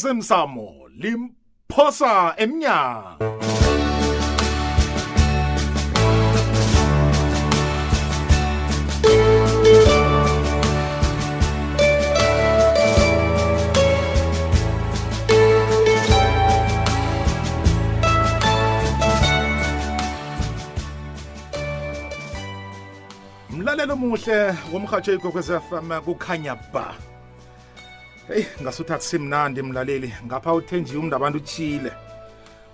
osemsamo limphosa emnyango mlalelo muhle womhatsho igogwez fm kukhanya ba heyi ngasuthi akusimnandi mlaleli ngapha uthenjiwe umntu abantu utshile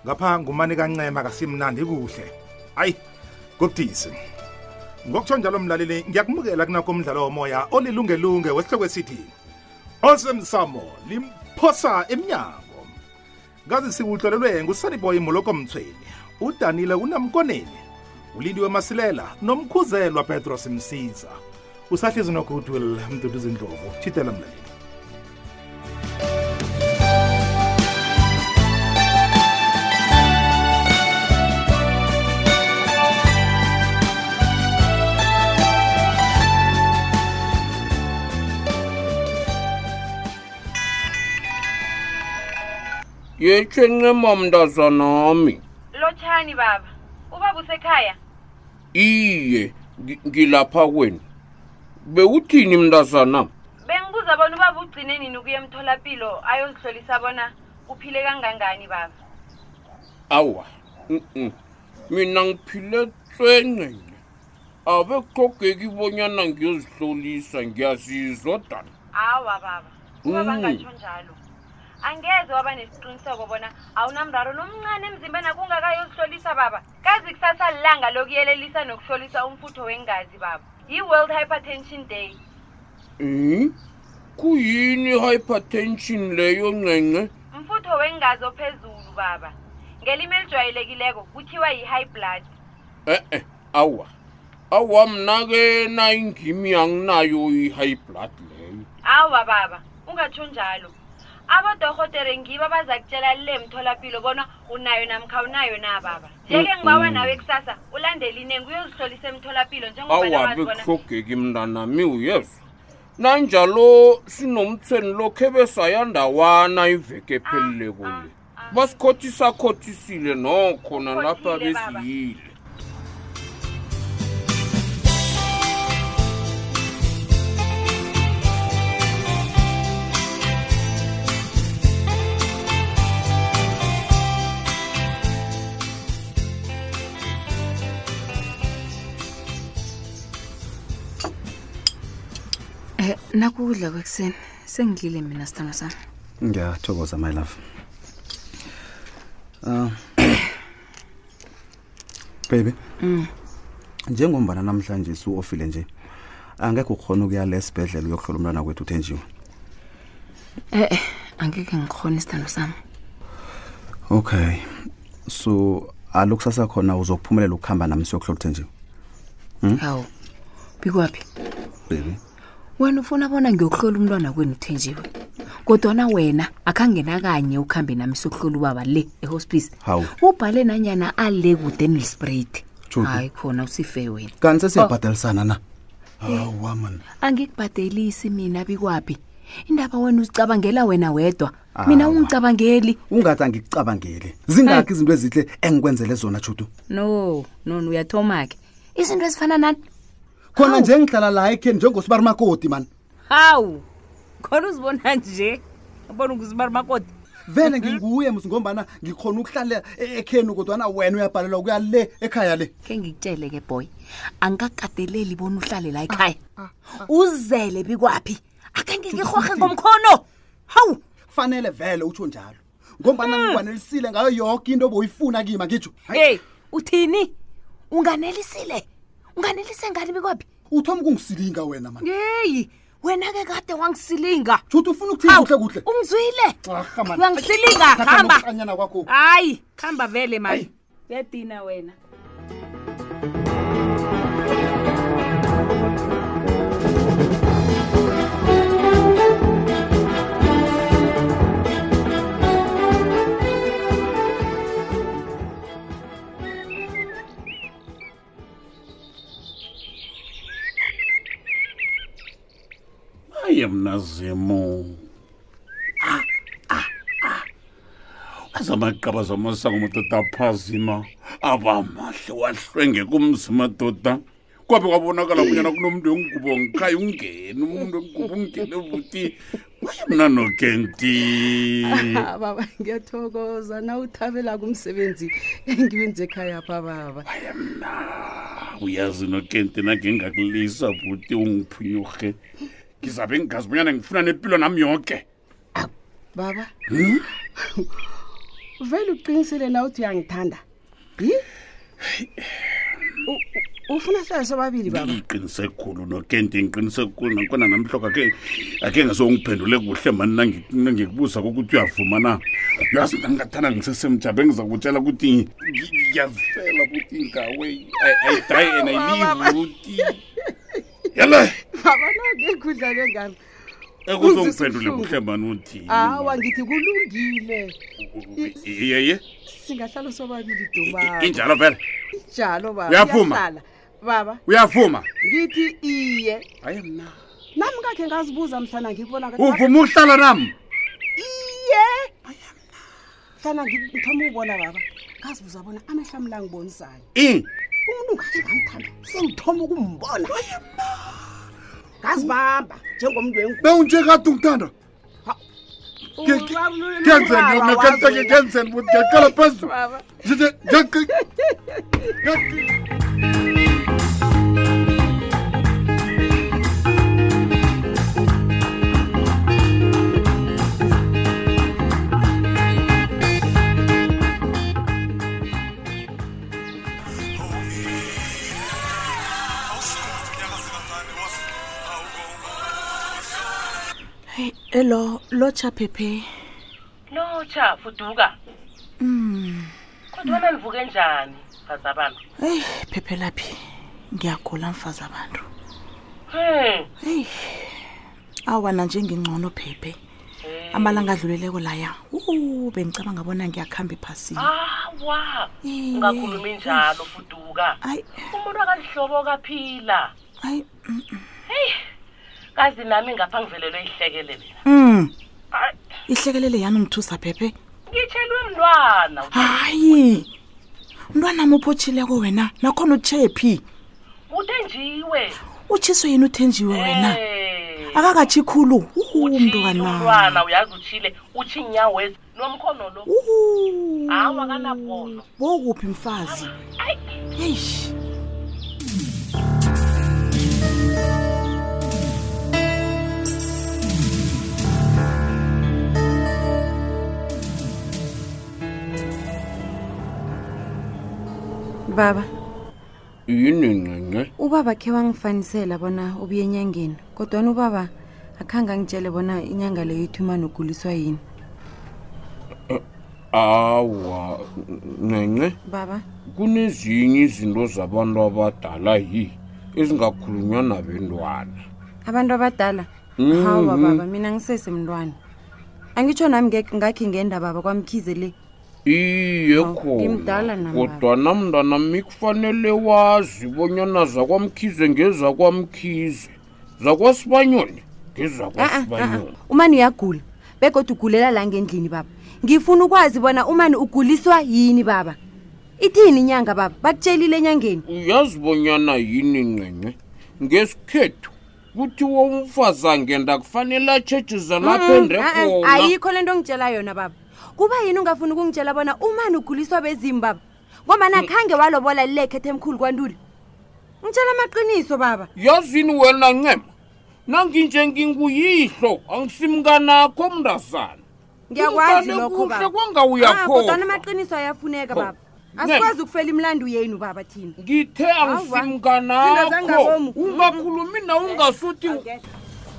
ngapha ngumani kancema kasimnandi kuhle hayi kubudisi ngokutsho njalo mlaleli ngiyakumukela kunakho umdlalo womoya olilungelunge wesihloko esithi osemsamo limphosa emnyango kazi siwuhlolelwe ngusaniboy moloko mthweni udanile unamkoneni ulindiwe masilela nomkhuzelwa petros msiza usahlezi nogoodwill mduduzi ndlovu tshitela mlaleli yechincima mntazanami lotshani baba ubaba usekhaya iye ngi- ngilapha kwenu bewuthini mntazanam bengibuza bona ubaba ugcine nini ukuya emtholapilo ayozihlolisa bona uphile kangangani baba awa mm-mm. mina ngiphile tswencenye abe kuxogeki bonyana ngiyozihlolisa ngiyazizwa dana awa baba Mm. ubaba angatsho njalo angeze waba nesiqiniseko bona awunamraro nomncane emzimbeni akungakayozihlolisa baba kazi kusasa lilanga lokuyelelisa nokuhlolisa umfutho wengazi baba yi-world hypertension day um kuyini i-hypertension leyo ncence mfutho wengazi ophezulu baba ngelimi elijwayelekileko kuthiwa yi-high blood e-e awa awa mna-ke nayingimi anginayo i-high blood leyo awa baba ungatsho njalo abodorhotere ngibo abaza kutshela le mtholapilo bona unayo namkha unayo na baba njeke Mm-mm. ngibawa nawe kusasa ulandele inengi uyozihlolisa emtholapilo njengobana awa wazi bona bekuhlogeki mntanami uyezwa nanjalo sinomthweni lokhe besayandawana iveke ephelileko ah, le ah. basikhothisakhotisile nokhona lapha Ukhothile baba. beziyile Eh, nakudla kwekuseni sengidlile mina sithando sami ngiyathokoza my love um baby njengombana namhlanje su-ofile nje angekho ukhona ukuya le sibhedlela uyokuhlola umntwana kwethu uthenjiwe e-e angeke ngikhona isithando sami okay so alukusasa khona uzokuphumelela ukuhamba nami siyokuhlola uthenjiwe hawu bikwaphi baby wena ufuna bona ngiyokuhlola umntwana kwenu uthenjiwe kodwana wena akhangena kanye ukuhambe nami sokuhlola ubaba le ehospice Hawu. ubhale nanyana ale kude nelisprat Tshuti. hayi khona usife wena kanti sesiyabhadalisana na hawa mani angikubhadelisi mina bikwaphi indaba wena uzicabangela wena wedwa mina Awa. ungicabangeli ungathi angikucabangeli zingakho izinto ezihle engikwenzele zona judu no non uyathoma ke izinto ezifana nani khona nje ngihlala la ekheni njengosibar makoti mani hawu khona uzibona nje abona ukuzibar makoti vele Mhm. nginguye msi ngombana ngikhona ukuhlala e- ekheni kodwana wena uyabhalelwa kuya le ekhaya le khe ngikutshele ke boy angikakateleli bona uhlale la ekhaya ah. uzele bikwaphi akenge ngirhorhe ngomkhono hawu kufanele vele utsho njalo ngombana ngikwanelisile ngayo yoke into obuyifuna kima ngitsho Hmm. hey uthini unganelisile unganelise ngani bikwaphi uthoma ukungisilinga wena mani yeyi wena ke kade wangisilinga juthi ufuna ukuthini Hawu, kuhle kuhle ungizwile Arha, man. uyangisilinga Thatha hamba nokuhlanyana kwakho hayi hamba vele mani uyadina wena aye mnazimu azamaqaba zamasango madoda aphazima abamahle wahlwenge kumzima doda kwabe kwabonakala kunyana kunomntu wengubo ngikhaya ungene umntu wengubo ungene buti mna noke nti Ah, baba ngiyathokoza na uthabela kumsebenzi engiwenze ekhaya pha baba uyazi noke nti nangengakulisa buti ungiphunyurhe ngizabe ngingazi bunyana ngifuna nempilo nami yoke baba vele uqinisile na uthi uyangithanda yi U- u- ufuna sayo sobabili baba ngiqinise khulu nokenti ngiqinise khulu nakhona namhloka ke ake ngizongiphendule kuhle mani nangi- nangikubuza kokuthi uyavuma na uyazi nangingathanda ngisesemjabe ngiza kutshela ukuthi ngi- ngiyazifela ukuthi ngawe I- I die and I live ukuthi yale baba nangekudla lengalo ekuzongiphendule Uzwisa kuhle mani uthini hawa ngithi kulungile yeye singahlala sobabili dumaba injalo vela njalo baba Uyavuma? Siyahlala. baba uyavuma ngithi iye hayi mna nami ngakhe ngazibuza mhlana ngikubona uvuma ukuhlala nami iye mhlana ngi- ngithoma ubona baba ngazibuza bona amehla mla ngibonisayo i umuntu ngathi ngamthanda sengithoma ukumbona ngazibamba njengomntu bewunje kade ungithanda ngenzeni ngenzeni ngiyaqala phezulu Baba. Nje- nje- nje- elo lotsha phephe lotsha fuduka kodwa wena nivuke njani mfazi abantu eyi phephe laphi ngiyagula mfazi abantu Hmm, awana njengingcono phephe amalanga adluleleko laya u bengicabanga bona ngiyakuhamba ephasini awa Iye. ungakhulumi njalo fuduka ayi umuntu akalihlobo kaphila ayi kazi nami ngapha ngivelelwe ihlekele mina um Ayi, ihlekelele yani ungithusa phephe ngitshelwe mntwana hayi mntwanami uphotshileko wena nakhona utshephi utenjiwe utshiswe yini uthenjiwe wena Eh, akakatshi khulu uhu utshile mntwanami umntwana uyazi utshile utshi inyawezi nomkhono lo Uhu. Hawu, akanabono. bokuphi mfazi Ayi. eish baba yini ncince ubaba khe wangifanisela bona ubuye enyangeni kodwani ubaba akhange angitshele bona inyanga leyo ithuma noguliswa yini awa ncince baba kunezinye izinto zabantu abadala yi ezingakhulunywa nabentwana abantu abadala hawa baba mina ngisesemntwana angitsho nami ngek- ngakhe ngenda baba kwamkhize le iye Hawu, ngimdala khona nami, kodwa namntanami kufanele wazi bonyana zakwamkhize ngezakwamkhize zakwasibanyoni Ah, ah, ah, ngezakwasibanyoni ah. umani uyagula begodwa ugulela la ngendlini baba ngifuna ukwazi bona umani uguliswa yini baba ithini inyanga baba bakutshelile enyangeni uyazibonyana yini ncince ngesikhethu kuthiwa umfazi angenda kufanele atshejeza lapho ende Ah, ah, khona ayikho le nto ongitshela yona baba kuba yini ungafuni ukungitshela bona umani uguliswa bezimu baba ngobana khange walobola lilekhetha emkhulu kwantuli ngitshela amaqiniso baba yazini wena ncema nanginje nginguyihlo angisimnganakho mndazana ngiyakwazi Umngane lokho kuhle baba kwanga Ah, kodwana uyakhoa amaqiniso ayafuneka Kho. baba Ncema. asikwazi ukufela imlandu yenu baba thina ngithe Zinto zangabomu. angisimnganakho Mm, mm. ungakhulumi na ungasuthi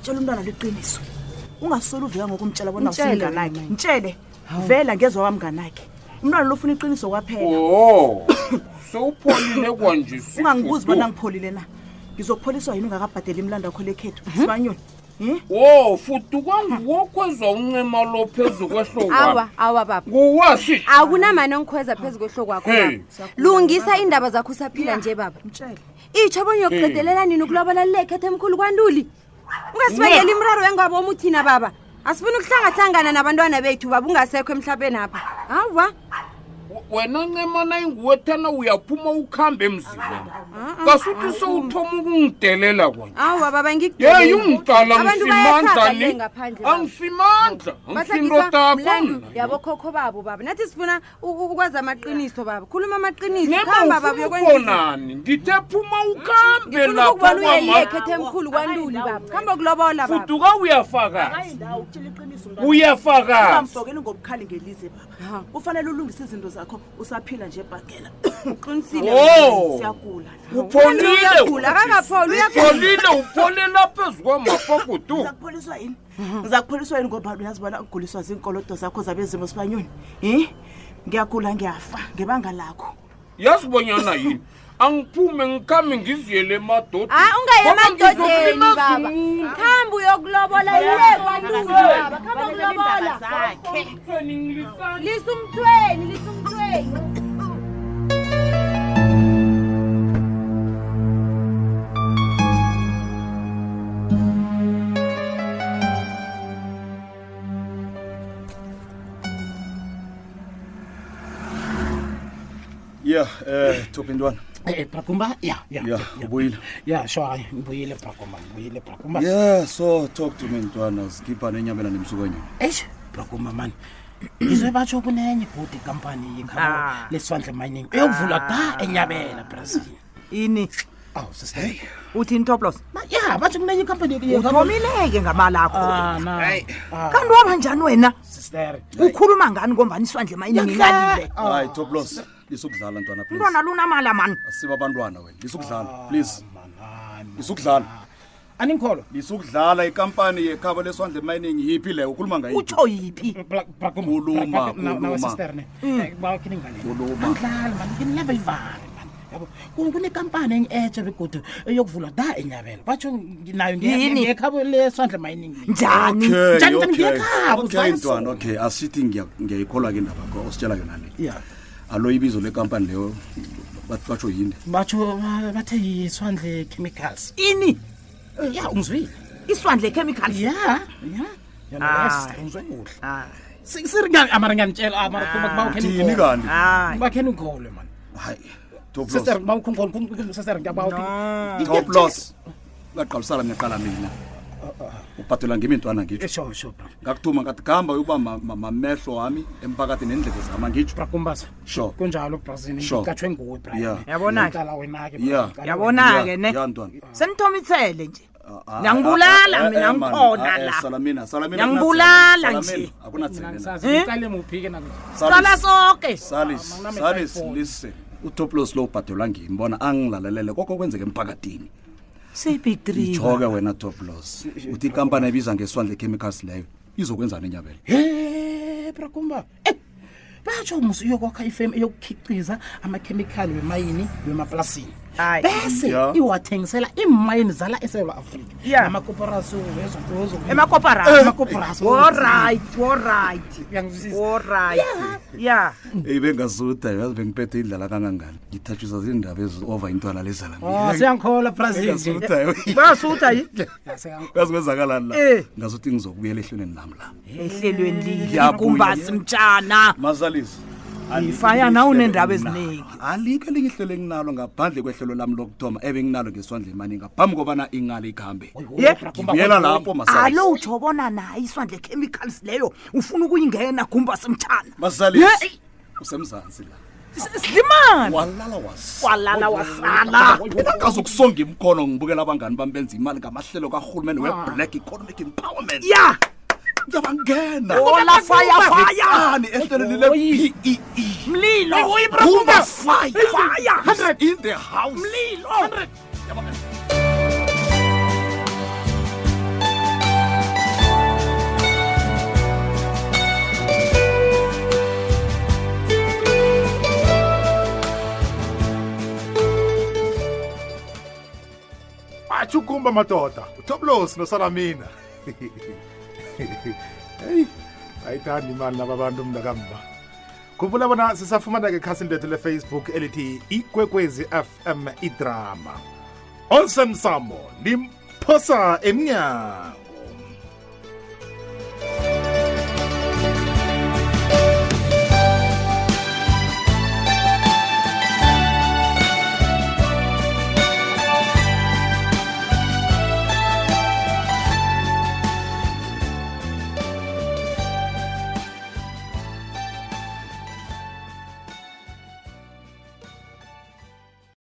tshela umntwana liqiniso ungasoli uveka ngokumtshela bona Mtshele usinganakhe wena. mtshele vela ngezwa wamnganakhe umntwana lofuna iqiniso kwaphela o sewupholile kwanje Sipho. ungangibuzi bona ngipholile na ngizopholiswa yini ungakabhadeli imlando wakho lekhethu Mhm. sibanyoni wo futhi kwanguwokhweza uncema lo phezu kwehlo awa kwami awa baba nguwasi akunamani ongikhweza phezu kwehlo kwakho Hey. baba lungisa indaba zakho usaphila nje baba mtshele itsho bonye yokuqedelela nini ukulobola lilekhetha emkhulu kwantuli ungasibekeli imraro wengabo omuthina baba asifuna ukuhlangahlangana nabantwana bethu baba ungasekho emhlabeni apha hawa wena ncema nayinguwe thana uyaphuma ukhambe emzileni kasuthi sowuthoma ukungidelela kwena awa baba yeyi ungiqala Abantu ngisimandla bayasaba ni le ngaphandle baba. angisimandla angisindotakho yabokhokho babo baba nathi sifuna u- u- ukwazi amaqiniso baba khuluma amaqiniso khamba baba uyokwenza nebaufunaukonani ngithe phuma ukhambe ngifuna lapha ukubona uyeyekhe themkhulu kwantuli baba khamba ukulobola baba fuduka uyafakaza ayindawo ukutshela iqiniso uyafakaza ungamfokeli ngobukhali ngelize baba Ha. kufanele ulungise izinto zakho usaphila nje bhagela uqinisile Oh, siyagula la. upholile Uyagula, akakapholwa, uyagula. upholile upholela phezu kwamafakudu Uza kupholiswa yini Mhm. uza kupholiswa yini ngoba uyazi bona uguliswa ziinkolodo zakho zabezimo sibanyoni um ngiyagula ngiyafa ngebanga lakho yazi bonyana yini angiphume ngikhambe ngiziyele emadodeni hayi ungaye Ngoba Ah, emadodeni ngizokulimaza baba umuntu. khamba uyokulobola le kwantuli baba khamba ukulobola Umthweni ngilisana. lisa umthweni lisa umthweni ya um thopintwana bragumba ya ya ya ubuyile ya sure hayi ngibuyile bragumba ngibuyile bragumba ya so talk to me ntwana uzikhipha enyabela nemsukanyoni eish bragumba mani ngizwe batsho kunenye ibhodi ikampani yengabo leswandle mining eyokuvulwa da enyabela brazil ini awu sisiheyi uthini toplos ya batsho kunenye ikampani uthomileke ngamalakho Ana. kanti waba njani wena sister ukhuluma ngani ngombani iswandle mayiningilalile hayi toplos lisukudlala ntwana please umntwana lunamala mani asiba abantwana wena Ah, lisukudlala please manani lisukudlala aningikholwa lisukudlala ikampani yekhaba leswandle mining yiphi leyo ukhuluma ngayithi utsho yiphi Kuluma, kuluma. Mm. Eh, Kuluma. kulumandlali mankinileva ivale mani yabo Ku- kunekampani engi-etsha begodu eyokuvulwa da enyabela batsho ngi- nayo ngiya- Yini? ngekhabo leswandle mining njani Okay, Njani kanti okay. ngiyakhaba, okay uzwana so. ntwana okay asithi ngiya- ngiyayikholwa ke indaba yakho ositshela yona le ya alo ibizo lekampani leyo bathi batsho yini batsho ba- bathe yiswandle chemicals ini ya ungizwile iswandle chemicals ya ya Ah. yona ungizwe kuhle Ah, Si- siringani amarangantshela thini amarakhoba kanti hayi bakheni ngikholwe mani hayi top loss sister bawukhunkonsesister No. top loss ngaqalisala mina qala Ah, mina ubhadela ngimi intwana Eh. ngitsho sure sure bra ngakuthuma ngathi gamba yokuba ma- ma- mamehlo wami emphakathini nendlebe zama ngitsho brakumbasa Sure. kunjalo brazil Sure. ikatshwe nguwe bra Yeah. Yabona-ke. wena ke Yeah. yabona-ke ne ya ntwana senithomithele nje Ah, ah, Ngiyangibulala ah, ah, mina, eh, man. ngikhona Ah, eh, la. salamina salamina Ngiyangibulala akunatsele, nje. salamina, akunatsele na. Eh? icale muphi-ke nakuzo cala soke salis Ah, mama, salis nami-iPhone. listen utoplos lo ubhadelwa ngimi bona angilalelele koko kwenzeka emphakathini seyibhidriwe itsho ke wena toplos Eh, uthi ikampani ebiza ngeswandle chemicals leyo izokwenzani enyabela he brakumba Eh, batsho musi uyokwakha ifemu eyokukhiqiza amakhemikhali wemayini wemaplasini Ayi. bese Yeah. iwathengisela iimayini zala esewula afrika Yeah. namakoporasi emakoparasi eh, amakoporasi olright olright olright ya eyi bengazuda yazi bengiphethe indlala kangangani ngithatshisa ziindaba eziova intwana lezala siyangikhola brazil ngasuda basutha yi yazi kwenzakalani la Eh. ngazuthi ngizokubuyela ehlelweni nami la ehlelweni Ngiyabuya. likumbasi mtshana masalisi Ifaya nawo unendaba eziningi. alikho elinye ihlelo enginalo ngaphandle kwehlelo lami lokuthoma ebenginalo ngeswandla imani ngaphambi kobana ingale ikhambe Ye. ngibuyela lapho masalisi alo utshobona naye iswandle chemicals leyo ufuna ukuyingena gumbasi mtshana Ah. masalisi usemzansi la S- silimani walala was walala Ah, wasala akazokusonga imkhono ngibukela abangani bami benza imali ngamahlelo kahulumende we-black economic empowerment Ah. ya ngiyabangena Ola fire, fire. Ani ehlelweni E le-pee mlilo Uba fire Fire. Hundred in the house mlilo atsho ukumba madoda utoplos nosalamina heyi ayithandi imali naba bantu mntakamva khumbula bona sisafumana ke ekhasini lethu lefacebook elithi ikwekwezi fm idrama onsemsamo nimphosa emnyango